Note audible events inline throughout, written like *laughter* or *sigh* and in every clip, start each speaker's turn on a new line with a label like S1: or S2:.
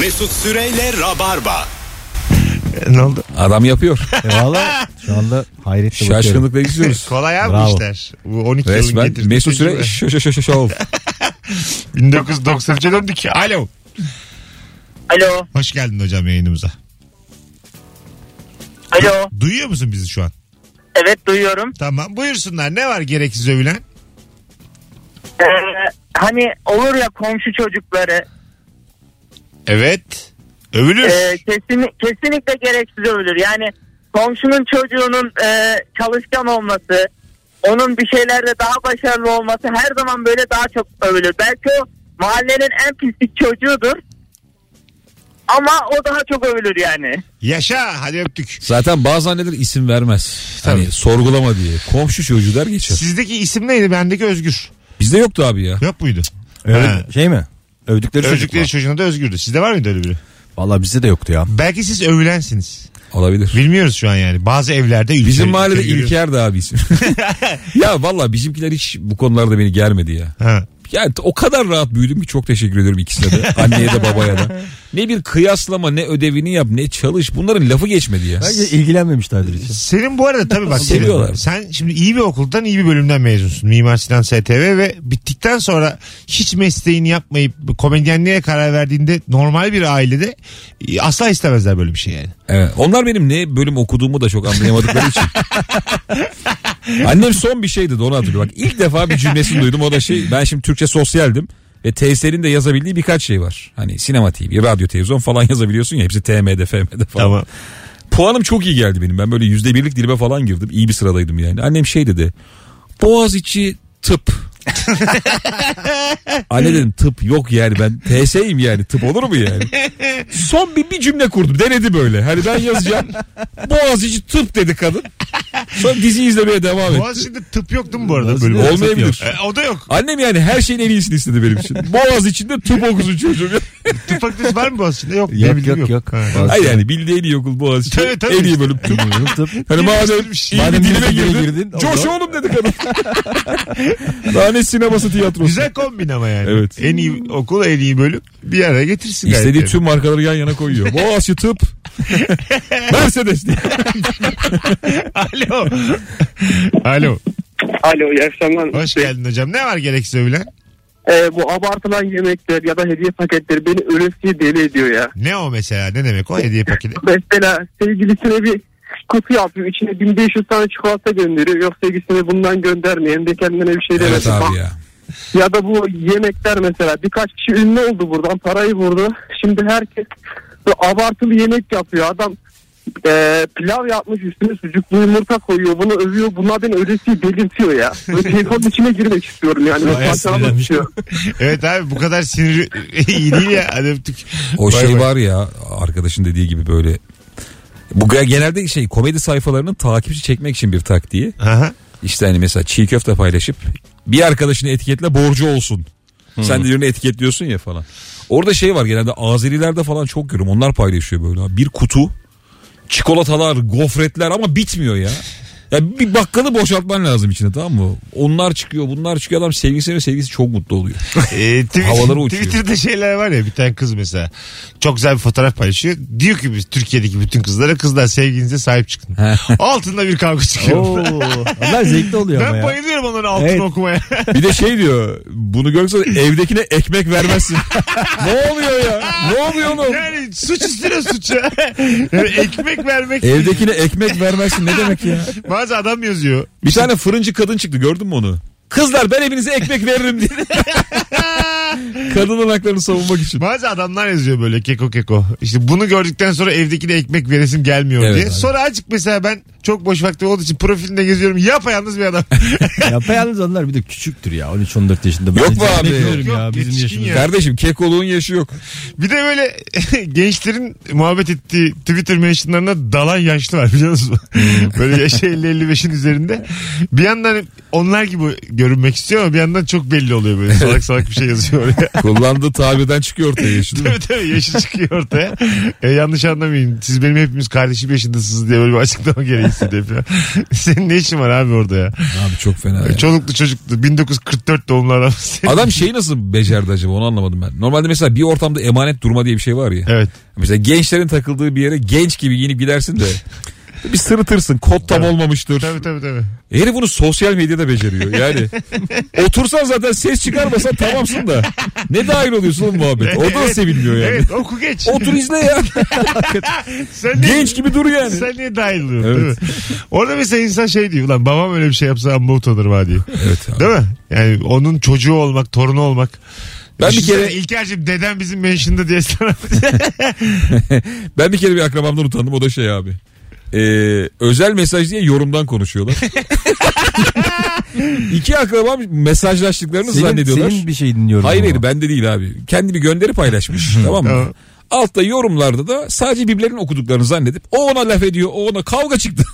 S1: Mesut Süreyle Rabarba.
S2: ne oldu?
S3: Adam yapıyor.
S2: E valla şu anda hayretle bakıyorum.
S3: Şaşkınlıkla
S2: *laughs*
S3: izliyoruz.
S4: Kolay abi
S2: Bravo.
S4: işler. Bu 12 yılın
S3: Resmen
S4: getirdiği
S3: Mesut Süre *laughs*
S4: tecrübe. *laughs*
S3: şo şo şo şo şov.
S4: 1993'e döndük. Alo.
S5: Alo.
S4: Hoş geldin hocam yayınımıza.
S5: Alo.
S4: Duyuyor musun bizi şu an?
S5: Evet duyuyorum.
S4: Tamam. Buyursunlar. Ne var gereksiz övülen?
S5: Ee, hani olur ya komşu çocukları.
S4: Evet. Övülür.
S5: e, kesin, kesinlikle gereksiz övülür. Yani komşunun çocuğunun e, çalışkan olması, onun bir şeylerde daha başarılı olması her zaman böyle daha çok övülür. Belki o mahallenin en pislik çocuğudur. Ama o daha çok övülür yani.
S4: Yaşa. Hadi öptük.
S3: Zaten bazı anneler isim vermez.
S4: Tabii.
S3: Hani sorgulama diye. Komşu çocuğu der geçer.
S4: Sizdeki isim neydi? Bendeki Özgür.
S3: Bizde yoktu abi ya.
S4: Yok muydu? Ha.
S2: Öyle, şey mi? Övdükleri, çocuk mu?
S4: Övdükleri çocuğuna da Özgür'dü. Sizde var mıydı öyle biri?
S2: Valla bizde de yoktu ya.
S4: Belki siz övülensiniz.
S3: Olabilir.
S4: Bilmiyoruz şu an yani. Bazı evlerde ülke,
S2: Şey,
S3: Bizim mahallede
S4: ülke görüyoruz.
S3: İlker de abi isim. *laughs* ya valla bizimkiler hiç bu konularda beni germedi ya.
S4: Ha.
S3: Yani o kadar rahat büyüdüm ki çok teşekkür ediyorum ikisine de.
S2: *laughs*
S3: Anneye de babaya da. Ne bir kıyaslama ne ödevini yap ne çalış. Bunların lafı geçmedi ya.
S2: Bence ilgilenmemişlerdir hiç.
S4: Senin bu arada tabii bak.
S3: Seviyorlar.
S4: Sen şimdi iyi bir okuldan iyi bir bölümden mezunsun. Mimar Sinan STV ve bittikten sonra hiç mesleğini yapmayıp komedyenliğe karar verdiğinde normal bir ailede e, asla istemezler böyle bir şey yani.
S3: Evet. Onlar benim ne bölüm okuduğumu da çok anlayamadıkları için. Annem son bir şey dedi onu hatırlıyorum. Bak ilk defa bir cümlesini duydum o da şey ben şimdi Türkçe sosyaldim. Ve TSL'in de yazabildiği birkaç şey var. Hani sinema TV, radyo, televizyon falan *laughs* yazabiliyorsun ya hepsi TM'de, FM'de falan.
S4: Tamam.
S3: Puanım çok iyi geldi benim. Ben böyle yüzde birlik dilime falan girdim. İyi bir sıradaydım yani. Annem şey dedi. Boğaziçi tıp. Anne dedim tıp yok yani ben TS'yim yani tıp olur mu yani? Son bir, bir cümle kurdum denedi böyle. Hani ben yazacağım. Boğaziçi tıp dedi kadın. Sonra dizi izlemeye devam etti.
S4: Boğaziçi'nde tıp yok değil mi bu arada?
S2: Boğaziçi'nde
S4: Bölüm?
S2: tıp
S3: Olmayabilir.
S4: E, o da yok.
S3: Annem yani her şeyin en iyisini istedi benim için. Boğaz içinde tıp okusun çocuğum.
S4: Tıp fakültesi var mı Boğaziçi'nde? Yok.
S2: Yok,
S4: ne bileyim
S2: yok, yok.
S4: Ha.
S2: Bazı-
S3: Hayır yani bildiği en iyi okul Boğaz için.
S4: Tabii, tabii.
S3: En iyi bölüm tıp.
S2: Tıp.
S3: Hani madem
S4: Bilmiş.
S3: iyi
S2: Madem
S3: bir dilime
S2: iyi bir dilime
S3: girdin,
S2: girdin, o
S3: coş
S2: zaman-
S3: oğlum dedi kadın. *laughs* Daha ne sineması tiyatrosu.
S4: Güzel kombin ama yani.
S3: Evet.
S4: En iyi okul, en iyi bölüm bir araya getirsin. gayet
S3: İstediği
S4: yani.
S3: tüm markaları yan yana koyuyor. Boğaziçi tıp. Mercedes diye.
S4: *laughs* Alo. Alo.
S6: Alo iyi akşamlar.
S4: Hoş geldin hocam. Ne var gereksiz övülen?
S6: Ee, bu abartılan yemekler ya da hediye paketleri beni ölesiye deli ediyor ya.
S4: Ne o mesela? Ne demek o hediye paketi? *laughs*
S6: Mesela sevgilisine bir kutu yapıyor. içine 1500 tane çikolata gönderiyor. Yok sevgilisine bundan göndermeyen de kendine bir şey
S3: Evet
S6: demesin.
S3: abi
S6: Bak-
S3: ya.
S6: Ya da bu yemekler mesela birkaç kişi ünlü oldu buradan parayı vurdu. Şimdi herkes böyle abartılı yemek yapıyor. Adam e, pilav yapmış üstüne sucuklu yumurta koyuyor. Bunu övüyor. Bunlar beni ölesiye delirtiyor ya. Böyle telefonun içine girmek istiyorum yani. Böyle
S4: Bayağı
S6: parçalamak
S4: sinirlenmiş.
S6: istiyorum.
S4: evet abi bu kadar *laughs* sinir iyi değil ya. Hadi öptük.
S3: O
S4: Bay
S3: şey
S4: bay.
S3: var ya arkadaşın dediği gibi böyle. Bu genelde şey komedi sayfalarının takipçi çekmek için bir taktiği.
S4: Aha.
S3: İşte hani mesela çiğ köfte paylaşıp bir arkadaşını etiketle borcu olsun. Sen de birini etiketliyorsun ya falan. Orada şey var genelde Azerilerde falan çok görüyorum. Onlar paylaşıyor böyle. abi. Bir kutu çikolatalar, gofretler ama bitmiyor ya. Ya bir bakkalı boşaltman lazım içine tamam mı? Onlar çıkıyor, bunlar çıkıyor. Adam sevgilisi ve sevgilisi çok mutlu oluyor.
S4: Ee, Twitter-
S3: Havalara uçuyor.
S4: Twitter'da şeyler var ya bir tane kız mesela. Çok güzel bir fotoğraf paylaşıyor. Diyor ki biz Türkiye'deki bütün kızlara kızlar sevginize sahip çıkın. *laughs* Altında bir kavga çıkıyor.
S2: *laughs* Oo, onlar zevkli oluyor ama
S4: Ben
S2: ya.
S4: bayılıyorum onların altını
S2: Evet.
S4: okumaya.
S3: Bir de şey diyor, bunu görürsen evdekine
S4: *laughs*
S3: ekmek vermezsin. ne oluyor ya? Ne oluyor oğlum?
S4: yani suç üstüne suça. Yani ekmek vermek.
S3: Evdekine ekmek vermezsin ne demek ya?
S4: Bazı adam yazıyor.
S3: Bir tane fırıncı kadın çıktı gördün mü onu? Kızlar ben evinize ekmek veririm diye. Kadının haklarını savunmak için.
S4: Bazı adamlar yazıyor böyle keko keko. İşte bunu gördükten sonra evdekine ekmek veresim gelmiyor
S3: Evet
S4: diye.
S3: abi.
S4: Sonra azıcık mesela ben çok boş vaktim olduğu için profilinde geziyorum. Yapayalnız bir adam.
S2: Yapayalnız onlar bir de küçüktür ya. 13-14 yaşında. Ben
S3: Yok mu
S2: hiç
S3: abi?
S2: bekliyorum
S4: Yok,
S2: ya,
S4: yok,
S2: bizim
S4: yetişkin
S2: yaşımızda.
S4: ya.
S3: Kardeşim kekoluğun yaşı yok.
S4: Bir de böyle *laughs* gençlerin muhabbet ettiği Twitter mentionlarına dalan yaşlı var biliyor musun?
S2: Hmm.
S4: *laughs* böyle yaşı 50-55'in üzerinde. Bir yandan onlar gibi görünmek istiyor ama bir yandan çok belli oluyor böyle. Salak salak bir şey yazıyor oraya.
S3: Kullandığı tabirden çıkıyor ortaya
S4: *laughs*
S3: şimdi.
S4: Tabii tabii yaşı çıkıyor ortaya. E, yanlış anlamayın. Siz benim hepimiz kardeşim yaşındasınız diye böyle bir açıklama gereği hissediyor falan. *laughs* Senin ne işin var abi orada ya? E,
S3: Abi çok fena ya.
S4: Çoluklu çocuklu 1944 doğumlu adam. Senin-
S3: Adam şeyi nasıl becerdi acaba onu anlamadım ben. Normalde mesela bir ortamda emanet durma diye bir şey var ya.
S4: *laughs* Evet.
S3: Mesela gençlerin takıldığı bir yere genç gibi giyinip gidersin de bir sırıtırsın kod tam olmamıştır.
S4: Tabii tabii tabii.
S3: Herif bunu sosyal medyada
S4: *laughs*
S3: beceriyor yani. Otursan zaten ses çıkarmasan tamamsın da. Ne dahil oluyorsun oğlum muhabbet. Orada da
S4: Evet.
S3: sevilmiyor yani.
S4: Evet oku geç.
S3: Otur izle ya.
S4: *laughs* Sen ne-
S3: Genç gibi dur yani.
S4: Sen niye dahil oluyorsun
S3: Evet.
S4: değil mi? Orada mesela insan şey diyor. Ulan babam öyle bir şey yapsa amma utanırım ha diyor.
S3: Evet abi.
S4: Değil mi? Yani onun çocuğu olmak, torunu olmak.
S3: Ben bir
S4: Düşünsene,
S3: kere-
S4: İlker'cim dedem bizim mention'da diye sana.
S3: Ben bir kere bir akrabamdan utandım o da şey abi. Ee, özel mesaj diye
S4: *laughs*
S3: yorumdan konuşuyorlar. İki akrabam mesajlaştıklarını zannediyorlar.
S2: senin bir şey dinliyorum.
S3: Hayır
S2: ama.
S3: hayır ben de değil abi. Kendi bir gönderi paylaşmış tamam mı?
S4: Tamam.
S3: Altta yorumlarda da sadece birbirlerinin okuduklarını zannedip o ona laf ediyor o ona kavga çıktı.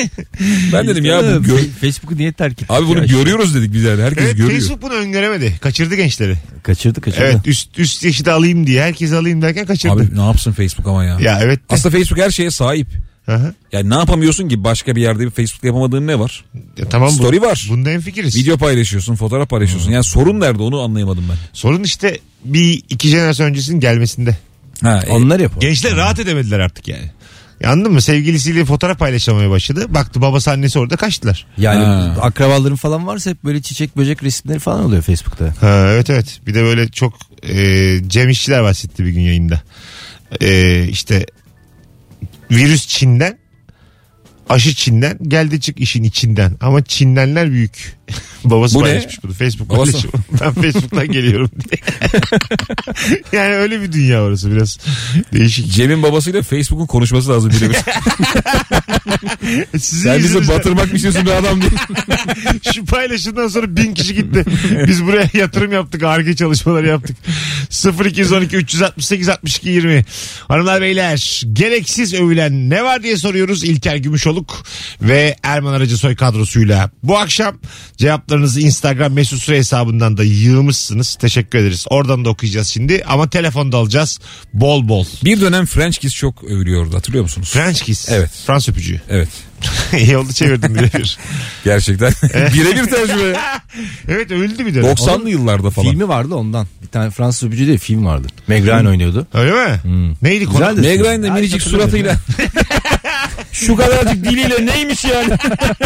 S3: *laughs* ben dedim ya bu gör-
S2: Fe- Facebook'u niye terk ettik?
S3: abi bunu
S2: ya?
S3: görüyoruz dedik biz yani herkes
S4: evet,
S3: görüyor.
S4: Facebook bunu öngöremedi. Kaçırdı gençleri.
S2: Kaçırdı kaçırdı.
S4: Evet üst, üst yaşı da alayım diye. Herkes alayım derken kaçırdı.
S3: Abi ne yapsın Facebook ama ya.
S4: Ya evet. de.
S3: Aslında Facebook her şeye sahip.
S4: Aha.
S3: Yani ne yapamıyorsun ki başka bir yerde bir Facebook'ta yapamadığın ne var?
S4: Ya tamam bu-
S3: Story var.
S4: Bunda en fikiriz.
S3: Video paylaşıyorsun, fotoğraf paylaşıyorsun. Yani sorun nerede onu anlayamadım ben.
S4: Sorun işte bir iki jenerasyon öncesinin gelmesinde.
S3: Ha, e,
S2: Onlar yapıyor.
S4: Gençler rahat edemediler artık yani. Ya Anladın mı? Sevgilisiyle fotoğraf paylaşamaya başladı. Baktı babası annesi orada kaçtılar.
S2: Yani
S3: Ha.
S2: akrabaların falan varsa hep böyle çiçek böcek resimleri falan oluyor Facebook'ta.
S4: Ha, evet evet. Bir de böyle çok e, Cem İşçiler bahsetti bir gün yayında. E, işte virüs Çin'den aşı Çin'den geldi çık işin içinden ama Çinlenler büyük. *laughs* Babası
S3: Bu ne?
S4: paylaşmış bunu Facebook
S3: Babası-
S4: paylaşıyor. Ben Facebook'tan geliyorum diye. *laughs* yani öyle bir dünya orası biraz değişik.
S3: Cem'in babasıyla Facebook'un konuşması lazım birebir.
S4: Sizin
S3: Sen bizi
S4: yüzünüzden-
S3: batırmak mı istiyorsun bir adam diye.
S4: *laughs* Şu paylaşımdan sonra bin kişi gitti. Biz buraya *laughs* yatırım yaptık. Arge çalışmaları yaptık. 0212 368 62 20. Hanımlar beyler gereksiz övülen ne var diye soruyoruz. İlker Gümüşoluk ve Erman Aracı Soy kadrosuyla. Bu akşam cevaplarınızı Instagram mesut süre hesabından da yığmışsınız. Teşekkür ederiz. Oradan da okuyacağız şimdi. Ama telefonda alacağız. Bol bol.
S3: Bir dönem French Kiss çok övülüyordu hatırlıyor musunuz?
S4: French kiss.
S3: Evet.
S4: Frans öpücüğü. *laughs*
S3: Evet.
S4: İyi oldu çevirdim birebir. *laughs*
S3: Gerçekten. Birebir tercüme.
S4: evet öldü bir de.
S3: 90'lı yıllarda falan.
S2: Filmi vardı ondan. Bir tane Fransız öpücü değil film vardı. Meg Ryan oynuyordu.
S4: Öyle mi? Neydi konu?
S2: Güzeldi.
S3: Meg Ryan da
S2: Ay,
S3: minicik
S2: hatırlamıyorum
S4: *laughs*
S3: suratıyla. Şu kadarcık diliyle neymiş yani?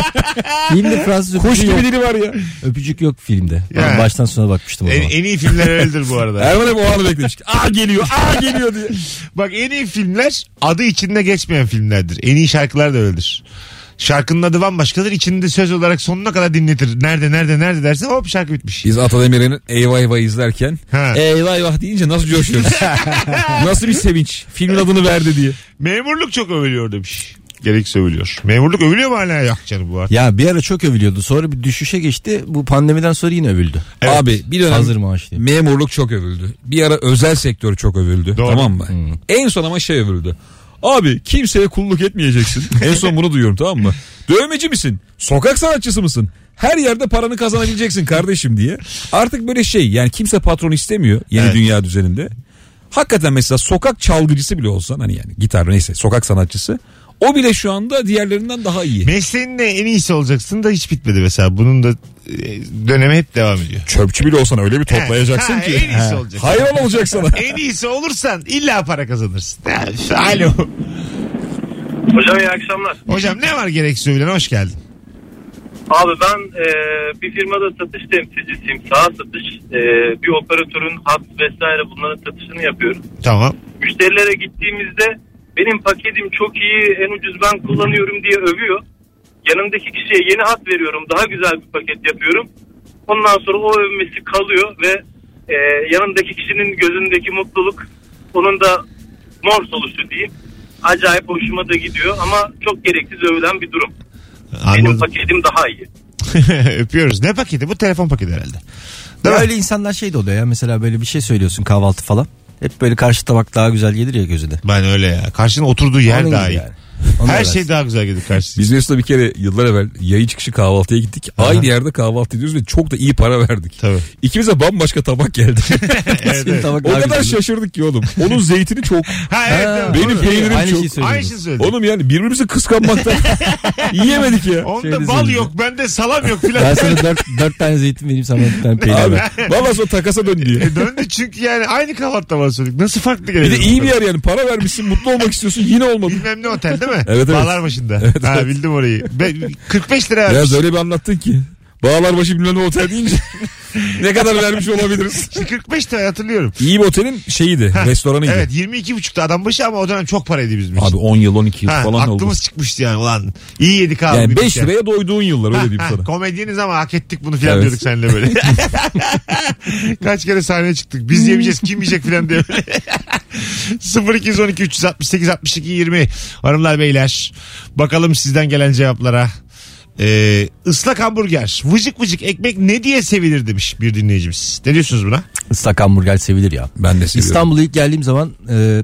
S2: *laughs* Filmde Fransız öpücü
S3: Kuş
S2: yok.
S3: gibi dili var ya.
S2: Öpücük yok filmde. Ben
S4: Yani.
S2: baştan sona bakmıştım o
S4: En,
S2: zaman.
S4: en iyi filmler öyledir bu
S3: *laughs*
S4: arada.
S3: Erman hep o anı beklemiş. Aa geliyor, aa geliyor diye.
S4: Bak en iyi filmler adı içinde geçmeyen filmlerdir. En iyi şarkılar da öyledir. Şarkının adı bambaşkadır. İçinde söz olarak sonuna kadar dinletir. Nerede nerede nerede dersin hop şarkı bitmiş.
S3: Biz Atademir'in Eyvah Eyvah izlerken
S4: Ha.
S3: Eyvah Eyvah deyince
S4: *laughs*
S3: nasıl coşuyoruz? nasıl bir sevinç? Filmin adını verdi diye.
S4: Memurluk çok övülüyor demiş. Gerekse övülüyor. Memurluk övülüyor mu hala? Yok canım bu artık.
S2: Ya bir ara çok övülüyordu. Sonra bir düşüşe geçti. Bu pandemiden sonra yine övüldü.
S4: Evet.
S3: Abi bir dönem
S2: Hazır maaş diye.
S3: memurluk çok övüldü. Bir ara özel sektör çok övüldü.
S4: Doğru.
S3: Tamam mı? En son ama şey övüldü. Abi kimseye kulluk *laughs* etmeyeceksin. en son bunu duyuyorum tamam mı? Dövmeci misin? Sokak sanatçısı mısın? Her yerde paranı kazanabileceksin kardeşim diye. Artık böyle şey yani kimse patron istemiyor yeni
S4: Evet.
S3: dünya düzeninde. Hakikaten mesela sokak çalgıcısı bile olsan hani yani gitar neyse sokak sanatçısı. O bile şu anda diğerlerinden daha iyi.
S4: Mesleğin de en iyisi olacaksın da hiç bitmedi mesela. Bunun da e, dönemi hep devam ediyor.
S3: Çöpçü bile olsan öyle bir toplayacaksın
S4: Ha,
S3: ki.
S4: en iyisi olacak.
S3: Hayran olacak
S4: *laughs*
S3: sana.
S4: En iyisi olursan illa para kazanırsın. Ya, Alo.
S7: Hocam iyi akşamlar.
S4: Hocam ne var gereksiz övülen? Hoş geldin.
S7: Abi ben e, bir firmada satış temsilcisiyim. Sağ satış. E, bir operatörün hat vesaire bunların satışını yapıyorum.
S4: Tamam.
S7: Müşterilere gittiğimizde benim paketim çok iyi en ucuz ben kullanıyorum diye övüyor. Yanımdaki kişiye yeni hat veriyorum. Daha güzel bir paket yapıyorum. Ondan sonra o övmesi kalıyor ve e, yanındaki kişinin gözündeki mutluluk onun da mor soluşu diyeyim. Acayip hoşuma da gidiyor ama çok gereksiz övülen bir durum. Benim
S4: Anladım.
S7: paketim daha iyi.
S4: *laughs* Öpüyoruz. Ne paketi? Bu telefon paketi herhalde. Değil
S2: Ya
S4: mi?
S2: öyle insanlar şey de oluyor ya. Mesela böyle bir şey söylüyorsun kahvaltı falan. Hep böyle karşı tabak daha güzel gelir ya gözüne.
S4: Ben öyle ya. Karşının oturduğu yer
S2: Onun
S4: daha iyi.
S2: gibi yani. Onu
S4: Her
S2: öğrensin.
S4: şey daha güzel gelir karşısına.
S3: Biz Mesut'la bir kere yıllar evvel yayın çıkışı kahvaltıya gittik. Aynı yerde kahvaltı ediyoruz ve çok da iyi para verdik.
S4: Tabii.
S3: İkimize bambaşka
S4: *laughs*
S3: tabak geldi.
S2: Senin *laughs* tabak
S3: o
S2: daha
S3: kadar
S2: güzeldi.
S3: şaşırdık ki oğlum. Onun zeytini çok.
S4: Ha, evet, evet,
S3: benim
S4: doğru.
S3: peynirim
S2: Aynı
S3: çok.
S2: şeyi söyledim.
S4: Aynı şey söyledim.
S3: Oğlum yani
S4: *laughs*
S3: birbirimizi kıskanmaktan yiyemedik ya.
S4: Onda
S2: Şeyde
S4: bal
S2: söyledim.
S4: yok bende salam yok filan.
S2: Ben sana dört, dört tane zeytin vereyim sana bir tane peynir
S4: *laughs*
S3: Abi
S2: ver.
S3: valla sonra takasa döndü ya.
S4: E, Döndü çünkü yani aynı kahvaltıda bana söyledik. Nasıl farklı gelebilir?
S3: Bir de
S4: bu
S3: iyi bir
S4: kadar?
S3: yer yani para vermişsin mutlu olmak istiyorsun yine olmadı.
S4: Bilmem ne otel değil mi?
S3: Evet, evet.
S4: Bağlar başında.
S3: Evet,
S4: ha,
S3: evet.
S4: bildim orayı. Be- 45 lira vermiş.
S3: Biraz öyle bir anlattın ki. Bağlarbaşı bilmem ne otel deyince *laughs* ne kadar
S4: *laughs*
S3: vermiş olabiliriz.
S4: İşte 45 lira hatırlıyorum.
S3: İyi bir otelin şeyiydi restoranıydı.
S4: Evet 22,5'ta adam başı ama o dönem çok paraydı bizim için.
S3: Abi 10 yıl 12 yıl
S4: Ha,
S3: falan
S4: aklımız
S3: oldu.
S4: çıkmıştı yani ulan. İyi yedik abi.
S3: Yani
S4: dedik
S3: 5
S4: ya.
S3: liraya doyduğun yıllar öyle
S4: *laughs*
S3: diyeyim
S4: Ha,
S3: sana.
S4: Komedyeniz ama hak ettik bunu filan
S3: Evet.
S4: diyorduk seninle
S3: *laughs*
S4: böyle. Kaç kere sahneye çıktık. Biz yemeyeceğiz kim yiyecek filan diye *laughs* böyle. 0212 368 62 20 Hanımlar beyler bakalım sizden gelen cevaplara. Ee, ıslak hamburger vıcık vıcık ekmek ne diye sevilir demiş bir dinleyicimiz. Ne diyorsunuz buna?
S2: Islak hamburger sevilir ya.
S3: Ben de seviyorum.
S2: İstanbul'a ilk geldiğim zaman e,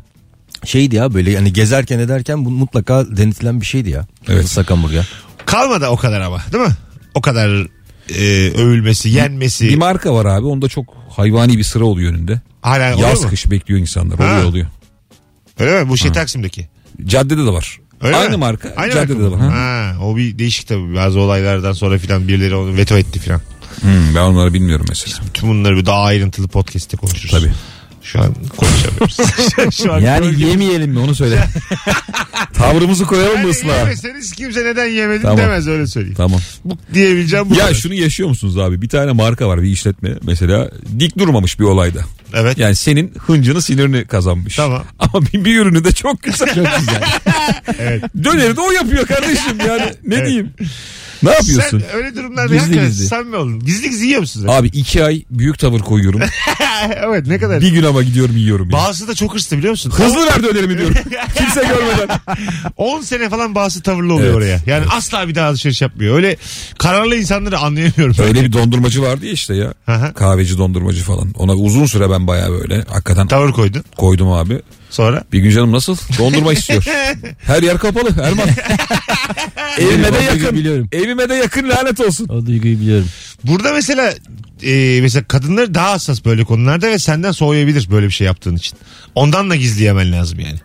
S2: şeydi ya böyle yani gezerken ederken bu mutlaka denetilen bir şeydi ya.
S3: Evet.
S2: Islak hamburger.
S4: Kalmadı o kadar ama değil mi? O kadar e, övülmesi, yenmesi.
S3: Bir marka var abi onda çok hayvani bir sıra oluyor önünde.
S4: Hala oluyor
S3: Yaz
S4: mu?
S3: kış bekliyor insanlar
S4: Ha.
S3: oluyor oluyor.
S4: Öyle mi? Bu şey Taksim'deki.
S3: Caddede de var.
S4: Öyle
S3: Aynı
S4: mi?
S3: marka
S4: Aynı
S3: caddede
S4: marka
S3: de
S4: mı?
S3: var. Ha.
S4: Ha, o bir değişik tabii. Bazı olaylardan sonra filan birileri onu veto etti filan.
S3: Hmm, ben onları bilmiyorum mesela.
S4: Tüm bunları bir daha ayrıntılı podcast'te konuşuruz.
S3: Tabii.
S4: Şu an
S3: *laughs*
S4: konuşamıyoruz. Şu an
S2: Yani yemeyelim mi
S4: *laughs*
S2: onu söyle.
S3: Tavrımızı koyalım
S4: yani
S3: mı ıslah?
S4: yemeseniz kimse neden yemedin
S3: Tamam.
S4: demez öyle söyleyeyim.
S3: Tamam.
S4: Bu diyebileceğim bu.
S3: Ya
S4: kadar.
S3: şunu yaşıyor musunuz abi? Bir tane marka var bir işletme mesela dik durmamış bir olayda.
S4: Evet.
S3: Yani senin hıncını sinirini kazanmış.
S4: Tamam.
S3: *laughs* Ama bir, bir ürünü de çok güzel. çok *laughs* güzel.
S4: Evet.
S3: Döneri de o yapıyor kardeşim yani. Ne diyeyim? Ne yapıyorsun?
S4: Sen öyle durumlarda
S2: Gizli
S4: hakikaten
S2: gizli.
S4: samimi olun. Gizli gizli yiyor musunuz?
S3: Abi iki ay büyük tavır koyuyorum.
S4: *laughs* evet ne kadar.
S3: bir gün ama gidiyorum yiyorum. yani.
S4: Bazısı da çok hırslı biliyor musun?
S3: Hızlı ver
S4: *laughs*
S3: dönerimi diyorum. Kimse görmeden.
S4: 10 sene falan bazı tavırlı oluyor
S3: Evet.
S4: oraya. Yani asla bir daha alışveriş yapmıyor. Öyle kararlı insanları anlayamıyorum.
S3: Öyle bir dondurmacı vardı ya işte ya.
S4: Aha.
S3: Kahveci dondurmacı falan. Ona uzun süre ben bayağı böyle hakikaten
S4: Tavır koydun
S3: koydum abi.
S4: sonra.
S3: Bir gün canım nasıl?
S4: *laughs*
S3: Dondurma istiyor. Her yer kapalı Erman. Evime de
S2: Biliyorum,
S3: yakın.
S2: biliyorum.
S3: Evime de yakın lanet olsun.
S2: O duyguyu biliyorum.
S4: Burada mesela e, mesela kadınlar daha hassas böyle konularda ve senden soğuyabilir böyle bir şey yaptığın için. Ondan da gizleyemen lazım yani.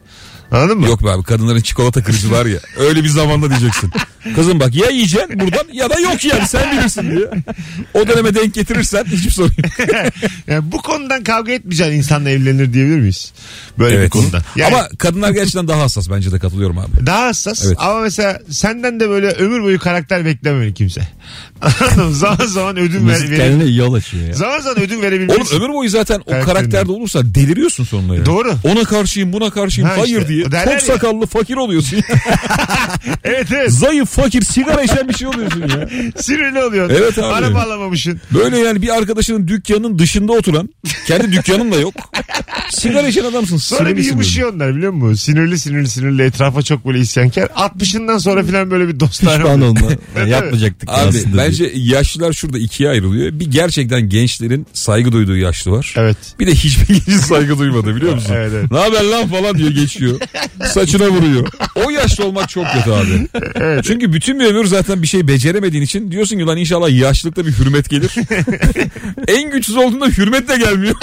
S4: Anladın mı?
S3: Yok be abi kadınların çikolata krizi var ya. Öyle bir zamanda diyeceksin. Kızım bak ya yiyeceksin buradan ya da yok yani sen bilirsin diye. O döneme denk getirirsen hiçbir sorun yok.
S4: *laughs* Yani bu konudan kavga etmeyeceğin insanla evlenir diyebilir miyiz? Böyle bir konuda. Yani
S3: Ama kadınlar gerçekten daha hassas bence de katılıyorum abi.
S4: daha hassas
S3: Evet.
S4: ama mesela senden de böyle ömür boyu karakter beklememeli kimse. *laughs* Anladın mı? Zaman zaman ödün ver,
S2: Mesut
S4: verir.
S2: kendine yol açıyor ya.
S4: Zaman zaman ödün verebilmelisin.
S3: Oğlum ömür boyu zaten o
S4: Karakterinden.
S3: karakterde olursa deliriyorsun sonunda ya.
S4: Doğru.
S3: Ona karşıyım buna karşıyım
S4: Ha
S3: hayır
S4: işte,
S3: diye.
S4: derler
S3: Çok
S4: ya.
S3: sakallı fakir oluyorsun.
S4: *laughs* *laughs* Evet evet.
S3: Zayıf fakir sigara içen bir şey oluyorsun ya.
S4: Sinirli oluyorsun.
S3: Evet abi.
S4: Araba alamamışsın.
S3: Böyle yani bir arkadaşının dükkanının dışında oturan kendi dükkanın da yok. Sigara içen adamsın.
S4: Sonra bir
S3: sinirlisin böyle.
S4: yumuşuyor onlar biliyor musun? Sinirli sinirli sinirli etrafa çok böyle isyankar. 60'ından sonra falan böyle bir dostlar
S2: Pişman olma. Yani *laughs* yapmayacaktık ya
S3: Abi şey-
S2: aslında.
S3: bence yaşlılar şurada ikiye ayrılıyor. Bir gerçekten gençlerin saygı duyduğu yaşlı var.
S4: Evet.
S3: Bir de hiçbir *laughs* genci saygı duymadı biliyor musun?
S4: Evet, evet.
S3: Ne haber lan falan diye geçiyor. Saçına vuruyor. O yaşlı olmak çok kötü abi. Çünkü bütün bir ömür zaten bir şey beceremediğin için diyorsun ki lan inşallah yaşlılıkta bir
S4: *laughs*
S3: hürmet gelir. en güçsüz olduğunda hürmet de gelmiyor.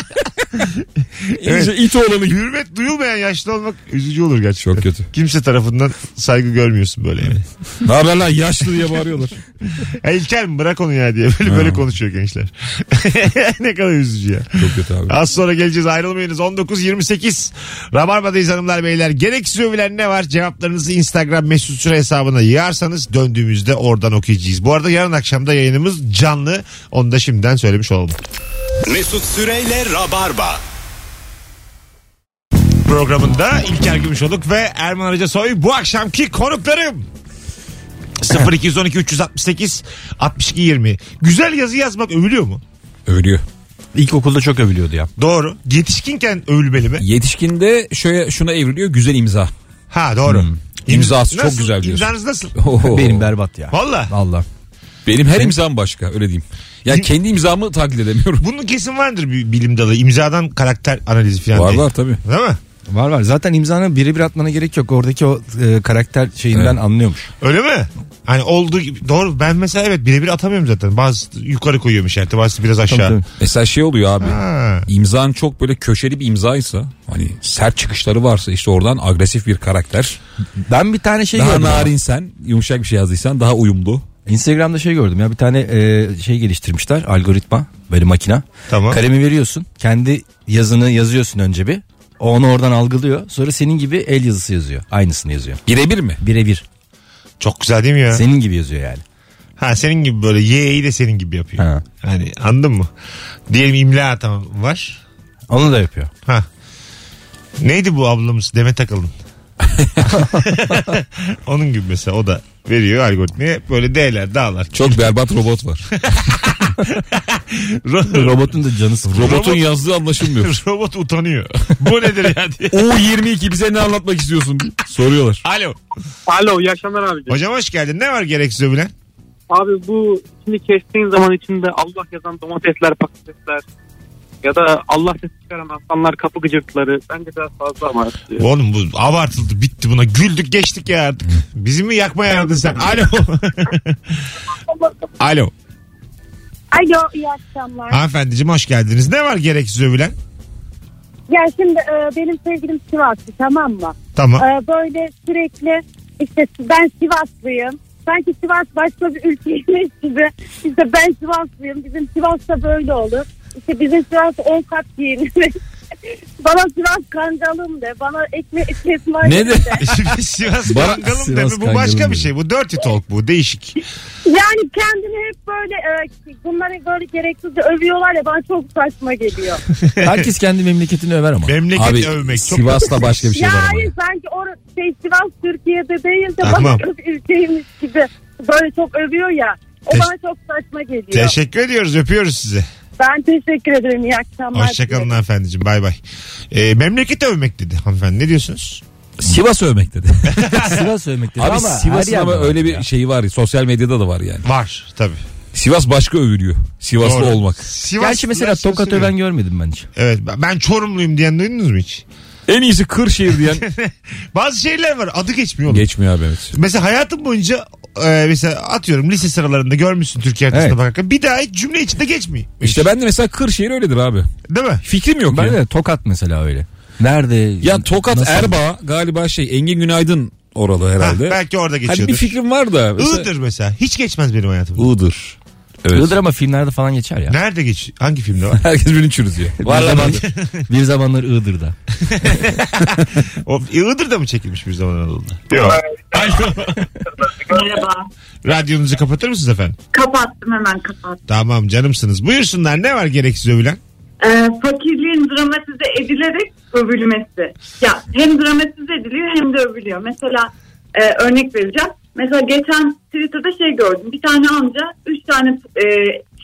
S3: İyice it oğlanı gibi.
S4: Hürmet duyulmayan yaşlı olmak üzücü olur gerçekten.
S3: Çok kötü.
S4: Kimse tarafından saygı görmüyorsun böyle yani.
S3: Ne haber lan yaşlı diye bağırıyorlar.
S4: Ya İlker mi bırak onu ya diye böyle, böyle konuşuyor gençler. *laughs* ne kadar üzücü ya.
S3: Çok kötü abi.
S4: Az sonra geleceğiz ayrılmayınız 19.28 Rabarba'dayız hanımlar beyler Gereksiz övülen ne var cevaplarınızı Instagram mesut süre hesabına yığarsanız Döndüğümüzde oradan okuyacağız Bu arada yarın akşamda yayınımız canlı Onu da şimdiden söylemiş olalım
S1: Mesut Süreyle Rabarba.
S4: programında İlker Gümüşoluk ve Erman Arıca Soy bu akşamki konuklarım. 0212 368 62 20. Güzel yazı yazmak övülüyor mu?
S3: Övülüyor.
S2: İlkokulda çok övülüyordu ya.
S4: Doğru. Yetişkinken övülmeli mi?
S3: Yetişkinde şöyle şuna evriliyor güzel imza.
S4: Ha doğru.
S3: Hmm. İmzası çok
S4: Nasıl?
S3: güzel diyorsun.
S4: İmzanız nasıl?
S3: Oo.
S2: Benim berbat ya.
S4: Valla.
S2: Valla.
S3: Benim her imzam başka öyle diyeyim. Ya kendi imzamı taklit edemiyorum. *laughs*
S4: Bunun kesin vardır bir bilim dalı. İmzadan karakter analizi falan
S3: Var
S4: diye.
S3: var tabii.
S4: Değil mi?
S2: Var var. Zaten imzanı birebir atmana gerek yok. Oradaki o e, karakter şeyinden anlıyormuş.
S4: Öyle mi? Hani olduğu gibi. Doğru ben mesela evet birebir atamıyorum zaten. Bazı yukarı koyuyorum işareti bazısı biraz aşağı.
S2: tabii.
S3: Mesela şey oluyor abi.
S4: Ha.
S3: İmzan çok böyle köşeli bir imzaysa hani sert çıkışları varsa işte oradan agresif bir karakter.
S2: Ben bir tane şey
S3: Daha
S2: gördüm.
S3: narin sen yumuşak bir şey yazdıysan daha uyumlu.
S2: Instagram'da şey gördüm ya bir tane e, şey geliştirmişler algoritma böyle makina.
S4: Tamam.
S2: Kalemi veriyorsun kendi yazını yazıyorsun önce bir. O onu oradan algılıyor. Sonra senin gibi el yazısı yazıyor. Aynısını yazıyor.
S3: Birebir mi?
S2: Birebir.
S4: Çok güzel değil mi ya?
S2: Senin gibi yazıyor yani.
S4: Ha senin gibi böyle Y'yi de senin gibi yapıyor.
S2: Ha.
S4: Hani anladın mı? Diyelim imla hatam var.
S2: Onu da yapıyor.
S4: Ha. Neydi bu ablamız? Demet
S3: *laughs*
S4: Akalın. Onun gibi mesela o da veriyor algoritmaya. Hep Böyle D'ler, dağlar. *laughs*
S3: Çok berbat robot var.
S4: Ro-
S2: Robotun da canı sıkılıyor.
S3: Robotun yazdığı
S4: *laughs*
S3: anlaşılmıyor.
S4: Robot utanıyor. bu nedir ya diye.
S3: U22 bize ne anlatmak istiyorsun? diye Soruyorlar.
S4: Alo.
S6: Alo iyi akşamlar abicim.
S4: Hocam hoş geldin. Ne var gereksiz övülen?
S6: Abi bu şimdi kestiğin zaman içinde Allah yazan domatesler, patatesler ya da Allah ses çıkaran aslanlar kapı gıcırtıları bence biraz fazla ama.
S4: Oğlum bu abartıldı bitti buna. Güldük geçtik ya artık. Bizi mi yakmaya aradın sen? *laughs* Alo. Alo.
S8: Alo iyi akşamlar.
S4: Hanımefendiciğim hoş geldiniz. Ne var gereksiz övülen?
S8: Ya şimdi e, benim sevgilim Sivaslı tamam mı?
S4: Tamam.
S8: E, böyle sürekli işte ben Sivaslıyım. Sanki Sivas başka bir ülkeymiş gibi. İşte ben Sivaslıyım. Bizim Sivas'ta böyle olur. İşte bizim Sivas 10 kat giyinir. *laughs* bana Sivas kangalım de. Bana ekmek kesme
S3: Ne de?
S4: *laughs* Sivas
S3: Bana-
S4: kangalım
S2: Sivas
S4: deme. Bu başka
S2: kangalım
S4: bir şey. Bu dirty talk bu. Değişik.
S8: Yani kendini hep böyle e, bunları böyle gereksiz de övüyorlar ya bana çok saçma geliyor.
S2: Herkes kendi memleketini
S3: *laughs*
S2: över ama.
S4: Memleket
S3: Abi
S4: övmek. Çok...
S3: Sivas'la başka *laughs* bir şey
S8: ya
S3: var ama.
S8: hayır sanki o şey Sivas Türkiye'de değil de
S4: Tamam.
S8: başka bir ülkeymiş gibi böyle çok övüyor ya. O
S4: Teş-
S8: bana çok saçma geliyor.
S4: Teşekkür ediyoruz. Öpüyoruz sizi.
S8: ben teşekkür ederim. İyi akşamlar.
S4: Hoşçakalın
S8: dilerim.
S4: hanımefendiciğim. Bay bay. Ee, memleket övmek dedi hanımefendi. Ne diyorsunuz?
S3: Sivas övmek dedi.
S2: Sivas övmek dedi
S3: Abi
S2: ama her
S3: Sivas'ın
S2: yerde
S3: ama
S2: var
S3: öyle bir
S2: ya.
S3: şeyi var. ya, Sosyal medyada da var yani.
S4: Var tabii.
S3: Sivas başka övülüyor. Sivaslı
S4: Doğru.
S3: olmak.
S4: Sivas,
S2: Gerçi mesela
S4: Sivas'ı
S2: Tokat
S4: seviyorum.
S2: öven görmedim ben hiç.
S4: Evet ben- ben Çorumluyum diyen duydunuz mu hiç?
S3: En iyisi Kırşehir
S2: *laughs*
S3: diyen *laughs*
S4: Bazı şehirler var adı geçmiyor. oğlum.
S3: geçmiyor abi evet.
S4: Mesela hayatım boyunca e, mesela atıyorum lise sıralarında görmüşsün Türkiye haritasına
S2: Evet.
S4: bakarken bir daha hiç cümle içinde geçmiyor.
S3: İşte ben de mesela Kırşehir öyledir abi.
S4: Değil mi?
S3: Fikrim yok ya.
S2: Ben de Tokat mesela öyle. Nerede?
S3: Ya Tokat
S2: Nasıl?
S3: Erbaa galiba şey Engin Günaydın oralı
S4: Ha,
S3: herhalde.
S4: belki orada
S3: hani
S4: geçiyordur.
S3: bir fikrim var da. mesela-
S4: Iğdır mesela. Hiç geçmez benim hayatımda.
S3: Iğdır. Evet.
S2: Iğdır ama filmlerde falan geçer ya.
S4: Nerede geç? Hangi filmde var?
S3: Herkes birini
S2: *laughs*
S3: çürütüyor.
S2: Bir, zaman,
S3: *laughs*
S2: bir zamanlar Iğdır'da.
S4: O, Iğdır'da mı çekilmiş bir zaman Anadolu'da? Yok. Alo.
S9: Merhaba.
S4: Radyonuzu kapatır mısınız efendim?
S9: Kapattım hemen kapattım.
S4: Tamam canımsınız. Buyursunlar ne var gereksiz övülen?
S9: Ee, fakirliğin dramatize edilerek övülmesi. Ya hem dramatize ediliyor hem de övülüyor. Mesela e, örnek vereceğim. Mesela geçen Twitter'da şey gördüm. Bir tane amca üç tane e,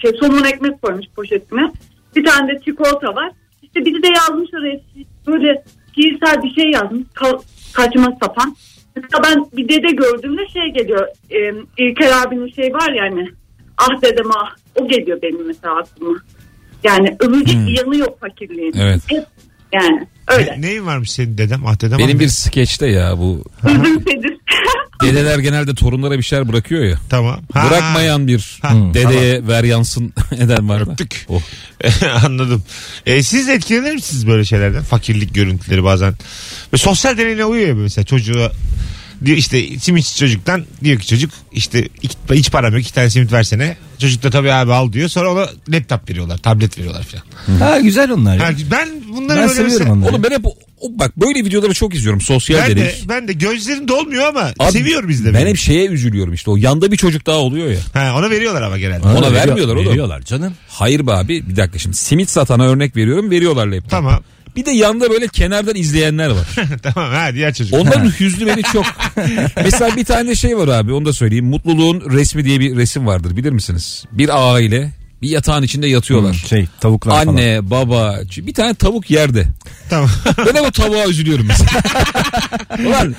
S9: şey somun ekmek koymuş poşetine. Bir tane de çikolata var. İşte biri de yazmış oraya böyle şiirsel bir şey yazmış. Ka- saçma sapan. Mesela ben bir dede gördüğümde şey geliyor. E, İlker abinin şey var ya hani. Ah dedem ah. O geliyor benim mesela aklıma. Yani övülecek bir yanı yok fakirliğin.
S3: Evet.
S9: Hep Yani öyle.
S4: *laughs* Ne, neyin varmış senin dedem? Ah dedem.
S3: Benim
S4: ah,
S3: bir skeçte ya bu.
S9: Üzüm sedir. *laughs*
S3: Dedeler genelde torunlara bir şeyler bırakıyor ya.
S4: Tamam. Ha,
S3: Bırakmayan bir
S4: Ha,
S3: dedeye ver yansın *laughs* eden var mı?
S4: Öptük.
S3: Oh.
S4: *laughs* Anladım. E, siz etkilenir misiniz böyle şeylerden? Fakirlik görüntüleri bazen. Ve sosyal deneyine uyuyor ya mesela çocuğa. Diyor işte simitçi çocuktan diyor ki çocuk işte iki, hiç param yok iki tane simit versene. Çocuk da tabii abi al diyor. Sonra ona laptop veriyorlar, tablet veriyorlar filan.
S2: Ha güzel onlar. Ya.
S4: Ha, ben bunları böyle
S2: Ben seviyorum
S4: mesela-
S2: onları.
S3: Oğlum ben hep o- o- bak böyle videoları çok izliyorum. Sosyal
S4: Ben de,
S3: deney.
S4: ben de gözlerim dolmuyor ama
S3: Abi,
S4: seviyorum izlemeyi.
S3: Ben hep şeye üzülüyorum işte o yanda bir çocuk daha oluyor ya.
S4: Ha, ona veriyorlar ama genelde.
S3: Ona vermiyorlar oğlum.
S2: Veriyorlar canım.
S3: Hayır be abi bir dakika şimdi simit satana örnek veriyorum veriyorlar laptop.
S4: Tamam. *laughs*
S3: Bir de yanda böyle kenardan izleyenler var.
S4: tamam ha diğer çocuk. *laughs*
S3: Onların hüznü beni çok. Mesela bir tane şey var abi onu da söyleyeyim. Mutluluğun resmi diye bir resim vardır bilir misiniz? Bir aile Bir yatağın içinde yatıyorlar.
S2: Şey tavuklar falan.
S3: Anne, baba, ç- bir tane tavuk yerde.
S4: Tamam. *laughs*
S3: Ben de bu tavuğa üzülüyorum
S2: *laughs*
S3: mesela. Ulan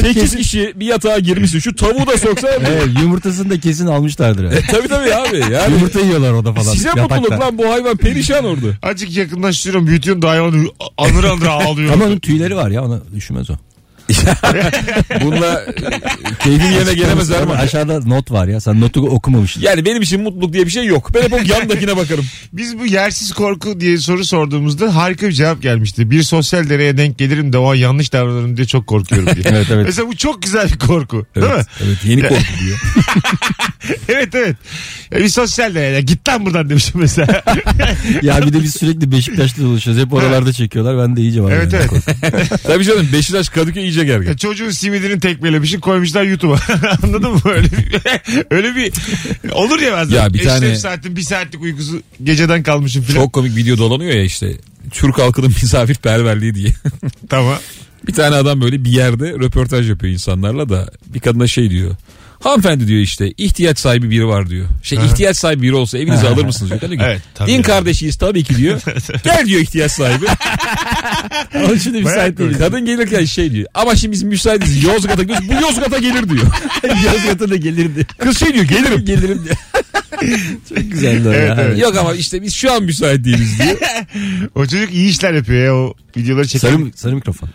S3: 8 kişi bir yatağa girmişsin. Şu tavuğu da soksa
S2: Evet, yumurtasını da kesin almışlardır. yani.
S3: tabii tabii abi. *laughs* Yani
S2: Yumurta yiyorlar orada falan.
S3: size mutluluk
S2: yatakta.
S3: lan bu hayvan perişan orada.
S4: Azıcık yakınlaştırıyorum. Büyütüyorum da hayvan anır anır ağlıyor.
S2: Ama onun tüyleri var ya ona üşümez o.
S3: Bununla e, keyfini yerine gelemez Erman.
S2: Aşağıda not var ya sen notu okumamışsın.
S3: Yani benim için mutluluk diye bir şey yok. Ben hep o yandakine bakarım.
S4: Biz bu yersiz korku diye soru sorduğumuzda harika bir cevap gelmişti. Bir sosyal dereye denk gelirim de o an yanlış davranırım diye çok korkuyorum
S3: *laughs*
S4: diye.
S2: Evet, evet.
S4: Mesela bu çok güzel bir korku. Değil mi? *laughs*
S3: Evet, evet yeni korku *laughs* diyor.
S4: Evet evet. Ya bir sosyal dereye git lan buradan demişim
S3: *laughs*
S4: mesela.
S2: ya bir de biz sürekli Beşiktaş'ta dolaşıyoruz. Hep oralarda çekiyorlar. Ben de iyice var.
S4: evet
S2: yani.
S4: evet.
S3: Tabii canım Beşiktaş Kadıköy iyice gergin.
S4: Ya çocuğun simidini tekmelemişin koymuşlar YouTube'a. *laughs* Anladın mı? Öyle bir, *laughs* öyle bir olur ya bazen.
S3: Ya bir
S4: Eşref
S3: tane-
S4: saatin bir saatlik uykusu geceden kalmışım filan.
S3: Çok komik video dolanıyor ya işte. Türk halkının misafirperverliği diye.
S4: Tamam.
S3: Bir tane adam böyle bir yerde röportaj yapıyor insanlarla da bir kadına şey diyor. Hanımefendi diyor işte ihtiyaç sahibi biri var diyor. Şey ihtiyaç sahibi biri olsa evinize alır mısınız diyor. Kadın diyor,
S4: Evet, tabii
S3: Din
S4: yani.
S3: kardeşiyiz tabii
S4: *laughs*
S3: ki diyor. Gel diyor ihtiyaç sahibi.
S2: Onun için de müsait değil.
S3: Kadın gelirken şey diyor. Ama şimdi biz müsaitiz Yozgat'a gidiyoruz. Bu Yozgat'a
S4: *laughs*
S3: gelir diyor.
S2: Yozgat'a
S3: *laughs*
S2: da gelirdi.
S3: Kız şey diyor gelirim.
S2: Gelirim diye. Çok güzeldi o ya.
S3: Yok ama işte biz şu an müsait değiliz diyor.
S4: O çocuk iyi işler yapıyor ya o videoları çeken.
S2: Sarı, sarı mikrofon.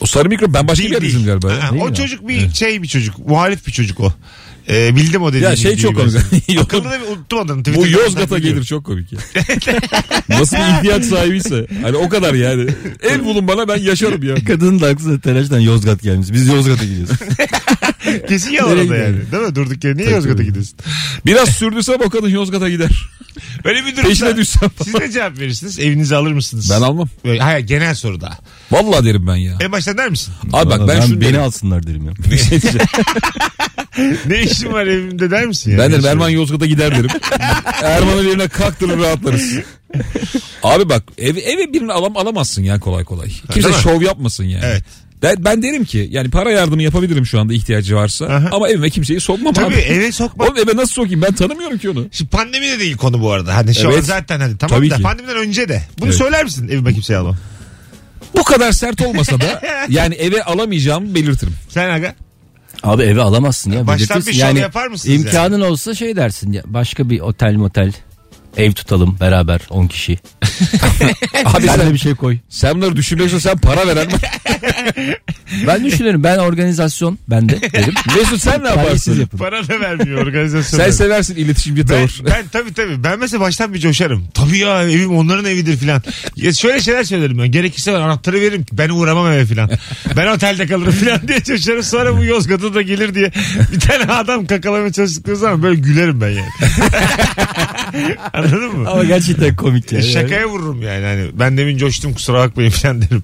S3: O sarı mikro ben başka
S4: Değil,
S3: bir yerde
S4: değil.
S3: izledim galiba. ya.
S4: Ha,
S2: Değil
S4: o
S2: mi?
S4: çocuk bir şey bir çocuk. Muhalif bir çocuk o. Ee, bildim o dediğini.
S3: Ya şey çok komik. *laughs*
S4: Akıllı da bir unuttum adını.
S3: Bu
S4: Twitter'dan
S3: Yozgat'a
S4: biliyorum.
S3: gelir çok
S4: *laughs*
S3: komik ya. Nasıl bir ihtiyaç sahibiyse. Hani o kadar yani. El bulun bana ben yaşarım ya.
S2: Kadının da aklına telaştan Yozgat gelmiş. Biz Yozgat'a gidiyoruz.
S4: Kesin yalan
S2: Nereye
S4: o da yani.
S2: gidiyor?
S4: Değil mi? Durduk yere niye Yozgat'a gidiyorsun?
S3: Biraz sürdürsem o kadın Yozgat'a gider.
S4: Böyle bir durumda.
S3: Peşine düşsem.
S4: Siz ne cevap verirsiniz? Evinize alır mısınız?
S3: Ben almam.
S4: Böyle- Hayır genel soruda.
S3: Vallahi derim ben ya.
S4: En baştan der misin?
S3: Abi bak ben şunu
S2: beni
S3: derim.
S2: alsınlar derim ya.
S3: Bir şey diyeceğim.
S4: Ne işin var evimde der misin? Yani?
S3: ben derim Erman Yozgat'a gider derim. Erman'ın yerine kalktırır rahatlarız. Abi bak ev, eve birini alam, alamazsın ya kolay kolay. Kimse
S4: değil mi?
S3: şov yapmasın yani.
S4: Evet.
S3: Ben, ben derim ki yani para yardımı yapabilirim şu anda ihtiyacı varsa
S4: Aha.
S3: ama evime kimseyi sokmam
S4: Tabii
S3: abi.
S4: eve sokma.
S3: Oğlum eve nasıl sokayım ben tanımıyorum ki onu.
S4: Şimdi pandemi de değil konu bu arada. Hani şu
S3: Evet.
S4: an zaten hani tamam
S3: Tabii
S4: da
S3: ki.
S4: pandemiden önce de. Bunu
S3: Evet.
S4: söyler misin evime kimseye alamam?
S3: Bu kadar sert olmasa
S2: *laughs*
S3: da yani eve alamayacağımı belirtirim.
S4: Sen aga?
S2: Abi eve alamazsın ya.
S4: Baştan
S2: belirtirsin.
S4: bir şov yapar mısınız
S2: İmkanın olsa şey dersin ya. Başka bir otel motel ev tutalım beraber 10 kişi. Abi sen de bir şey koy.
S3: Sen bunları düşünmüyorsun sen para veren.
S2: *laughs* Ben düşünürüm. Ben organizasyon bende derim.
S3: Mesut sen ne
S2: Ben siz
S3: yaparsın?
S2: yapın.
S4: Para da vermiyor
S3: *laughs*
S4: organizasyon.
S3: Sen
S4: vermiyor.
S3: seversin iletişimci
S4: ben,
S3: tavır.
S4: ben tabii tabii. Ben mesela baştan bir coşarım. Tabii ya evim onların evidir filan. Ya şöyle şeyler söylerim ben. Gerekirse ben anahtarı veririm. ki Ben uğramam eve filan. Ben otelde kalırım filan diye coşarım. Sonra bu Yozgat'a da gelir diye. Bir tane adam kakalamaya çalıştıkları zaman böyle gülerim ben yani. *laughs* Anladın mı?
S2: Ama gerçekten komik ya. Yani.
S4: Şakaya vururum yani. Hani ben demin coştum kusura bakmayın falan derim.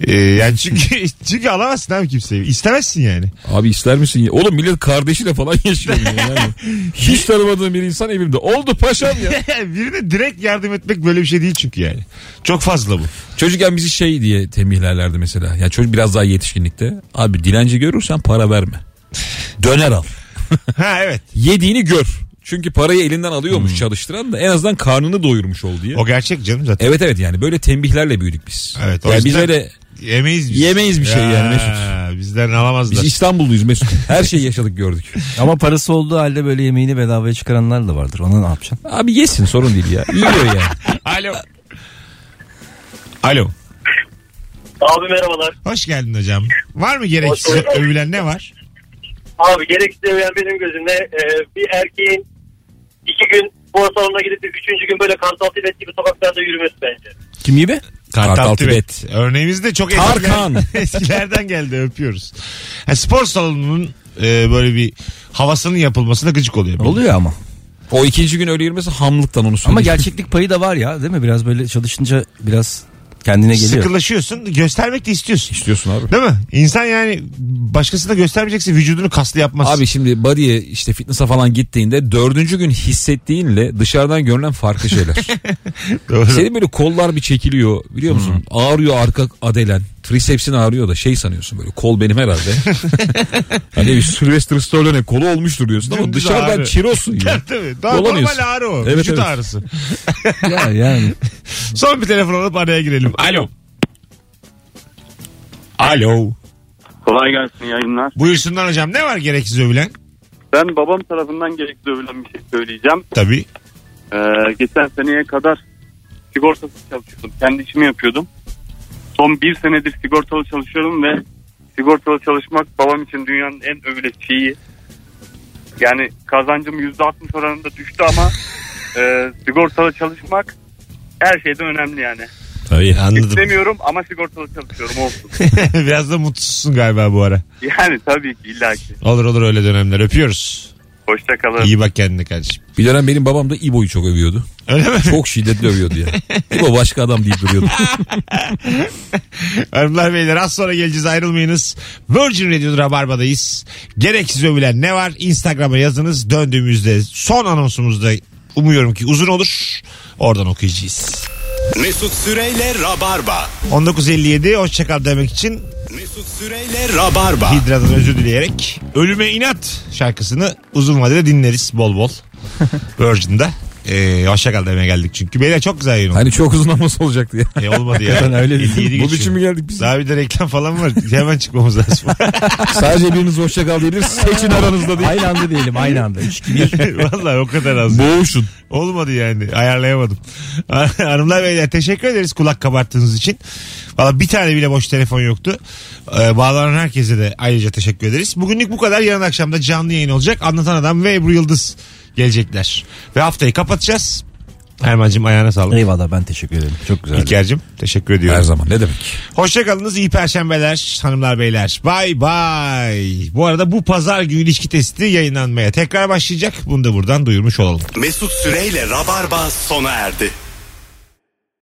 S4: Ee, yani çünkü *laughs* çünkü alamazsın abi kimseyi. İstemezsin
S2: *laughs*
S4: yani.
S3: Abi ister misin? ya? Oğlum millet kardeşiyle falan *laughs* yaşıyor. ya yani. Hiç tanımadığım bir insan evimde. Oldu paşam
S2: *laughs*
S3: ya.
S4: Birine direkt yardım etmek böyle bir şey değil çünkü yani. Çok fazla bu.
S3: Çocukken bizi şey diye tembihlerlerdi mesela. Ya çocuk biraz daha yetişkinlikte. Abi dilenci görürsen para verme. Döner al.
S4: Ha evet.
S3: Yediğini gör. Çünkü parayı elinden alıyormuş
S2: Hmm.
S3: çalıştıran da en azından karnını doyurmuş ol diye.
S4: O gerçek canım zaten.
S3: Evet evet yani böyle tembihlerle büyüdük biz.
S4: Evet, o
S3: yani biz
S4: yüzden-
S3: öyle
S4: Yemeyiz biz.
S3: Yemeyiz bir şey yani
S4: Mesut.
S3: Mesut.
S4: Bizden
S3: biz
S4: alamazlar.
S3: İstanbulluyuz Mesut. Her şeyi yaşadık gördük.
S2: *laughs* Ama parası olduğu halde böyle yemeğini bedavaya çıkaranlar da vardır. Ona ne yapacaksın?
S3: Abi yesin sorun değil ya. Yiyor yani.
S4: Alo. Alo.
S7: Abi merhabalar.
S4: Hoş geldin hocam. Var mı gereksiz
S7: Hoş bulduk.
S4: övülen ne var?
S7: Abi gereksiz övülen benim gözümde e, bir erkeğin iki gün spor salonuna gidip bir üçüncü gün böyle kartal tibet gibi sokaklarda yürümesi bence.
S2: Kim gibi?
S3: Kartal Tibet.
S4: Örneğimiz de çok
S3: Tarkan.
S4: eskiler- *laughs* eskilerden geldi öpüyoruz. Ha, spor salonunun e, böyle bir havasının yapılmasına gıcık oluyor.
S2: Oluyor ama.
S3: O ikinci gün öyle girmesi hamlıktan onu söyleyeyim. *laughs*
S2: Ama gerçeklik payı da var ya değil mi? Biraz böyle çalışınca biraz kendine geliyor. *laughs*
S4: Sıkılaşıyorsun göstermek de istiyorsun.
S3: istiyorsun abi.
S4: Değil mi? İnsan yani başkasına göstermeyecekse vücudunu kaslı yapmaz.
S3: Abi şimdi body'e işte fitness'a falan gittiğinde dördüncü gün hissettiğinle dışarıdan görünen farklı şeyler.
S4: Doğru.
S3: Senin böyle kollar bir çekiliyor biliyor musun? Ağrıyor arka adelen. Tricepsin ağrıyor da şey sanıyorsun böyle kol benim herhalde. hani bir Sylvester Stallone kolu olmuştur diyorsun ama
S4: Dümdüz
S3: dışarıdan
S4: ağrı.
S3: çirosun ya.
S4: *laughs* Tabii. Daha
S3: Dolanıyorsun.
S4: normal ağrı o.
S3: Evet,
S4: Vücut
S3: evet.
S4: ağrısı.
S2: Ya yani.
S4: Son bir telefon alıp araya girelim. Alo. Alo.
S7: Kolay gelsin yayınlar.
S4: Buyursunlar hocam ne var gereksiz övülen?
S7: Ben babam tarafından gerekli övülen bir şey söyleyeceğim.
S4: Tabii.
S7: Ee, geçen seneye kadar sigortasız çalışıyordum. Kendi işimi yapıyordum. Son bir senedir sigortalı çalışıyorum ve sigortalı çalışmak babam için dünyanın en övülen şeyi. Yani kazancım %60 oranında düştü ama e, sigortalı çalışmak her şeyden önemli yani.
S3: Tabii.
S4: Anladım.
S7: İstemiyorum ama sigortalı çalışıyorum olsun. *laughs*
S4: *laughs* Biraz da mutsuzsun galiba bu ara.
S7: Yani tabii ki illaki.
S4: Olur olur öyle dönemler. Öpüyoruz.
S7: Hoşçakalın.
S4: İyi bak kendine kardeşim.
S3: Bir dönem benim babam da İbo'yu çok övüyordu.
S4: Öyle mi? *laughs*
S3: Çok şiddetli övüyordu ya. İbo başka adam deyip duruyordu.
S4: Hanımlar beyler az sonra geleceğiz ayrılmayınız. Virgin Radio Rabarba'dayız. Gereksiz övülen ne var? Instagram'a yazınız. Döndüğümüzde son anonsumuzda umuyorum ki uzun olur. Oradan okuyacağız.
S1: Mesut Süreyle Rabarba.
S4: 1957 hoşçakal demek için
S1: Mesut Süreyle
S3: Ah.
S1: Rabarba.
S4: Hidra'dan özür dileyerek Ölüme inat şarkısını uzun vadede dinleriz bol
S3: *laughs*
S4: bol. Virgin'de. Ee, hoşçakal demeye geldik çünkü. Beyler çok güzel yayın oldu.
S3: Hani çok uzun anons olacaktı ya.
S4: E, olmadı
S3: *laughs*
S4: ya.
S2: Ben öyle dedim.
S4: 57
S3: Bu
S4: geçiyor.
S3: biçim mi geldik biz?
S4: Daha bir de reklam falan var. Hemen çıkmamız
S3: *laughs*
S4: lazım.
S3: Sadece biriniz hoşça kal diyebilir. Seçin aranızda değil.
S2: Aynı anda diyelim aynı anda. Üç, iki,
S4: *laughs*
S2: bir.
S4: Vallahi o kadar az.
S3: Boğuşun.
S4: Olmadı yani. Ayarlayamadım. *laughs* Hanımlar beyler teşekkür ederiz kulak kabarttığınız için. Valla bir tane bile boş telefon yoktu. Ee, bağlanan herkese de ayrıca teşekkür ederiz. Bugünlük bu kadar. Yarın akşam da canlı yayın olacak. Anlatan Adam ve Ebru Yıldız gelecekler. Ve haftayı kapatacağız. Erman'cığım ayağına sağlık.
S2: Eyvallah ben teşekkür ederim. Çok güzel.
S4: İlker'cim teşekkür ediyorum.
S3: Her zaman ne demek?
S4: Hoşçakalınız. iyi perşembeler hanımlar beyler. Bay bay. Bu arada bu pazar günü ilişki testi yayınlanmaya tekrar başlayacak. Bunu da buradan duyurmuş olalım.
S1: Mesut Süreyle Rabarba sona erdi.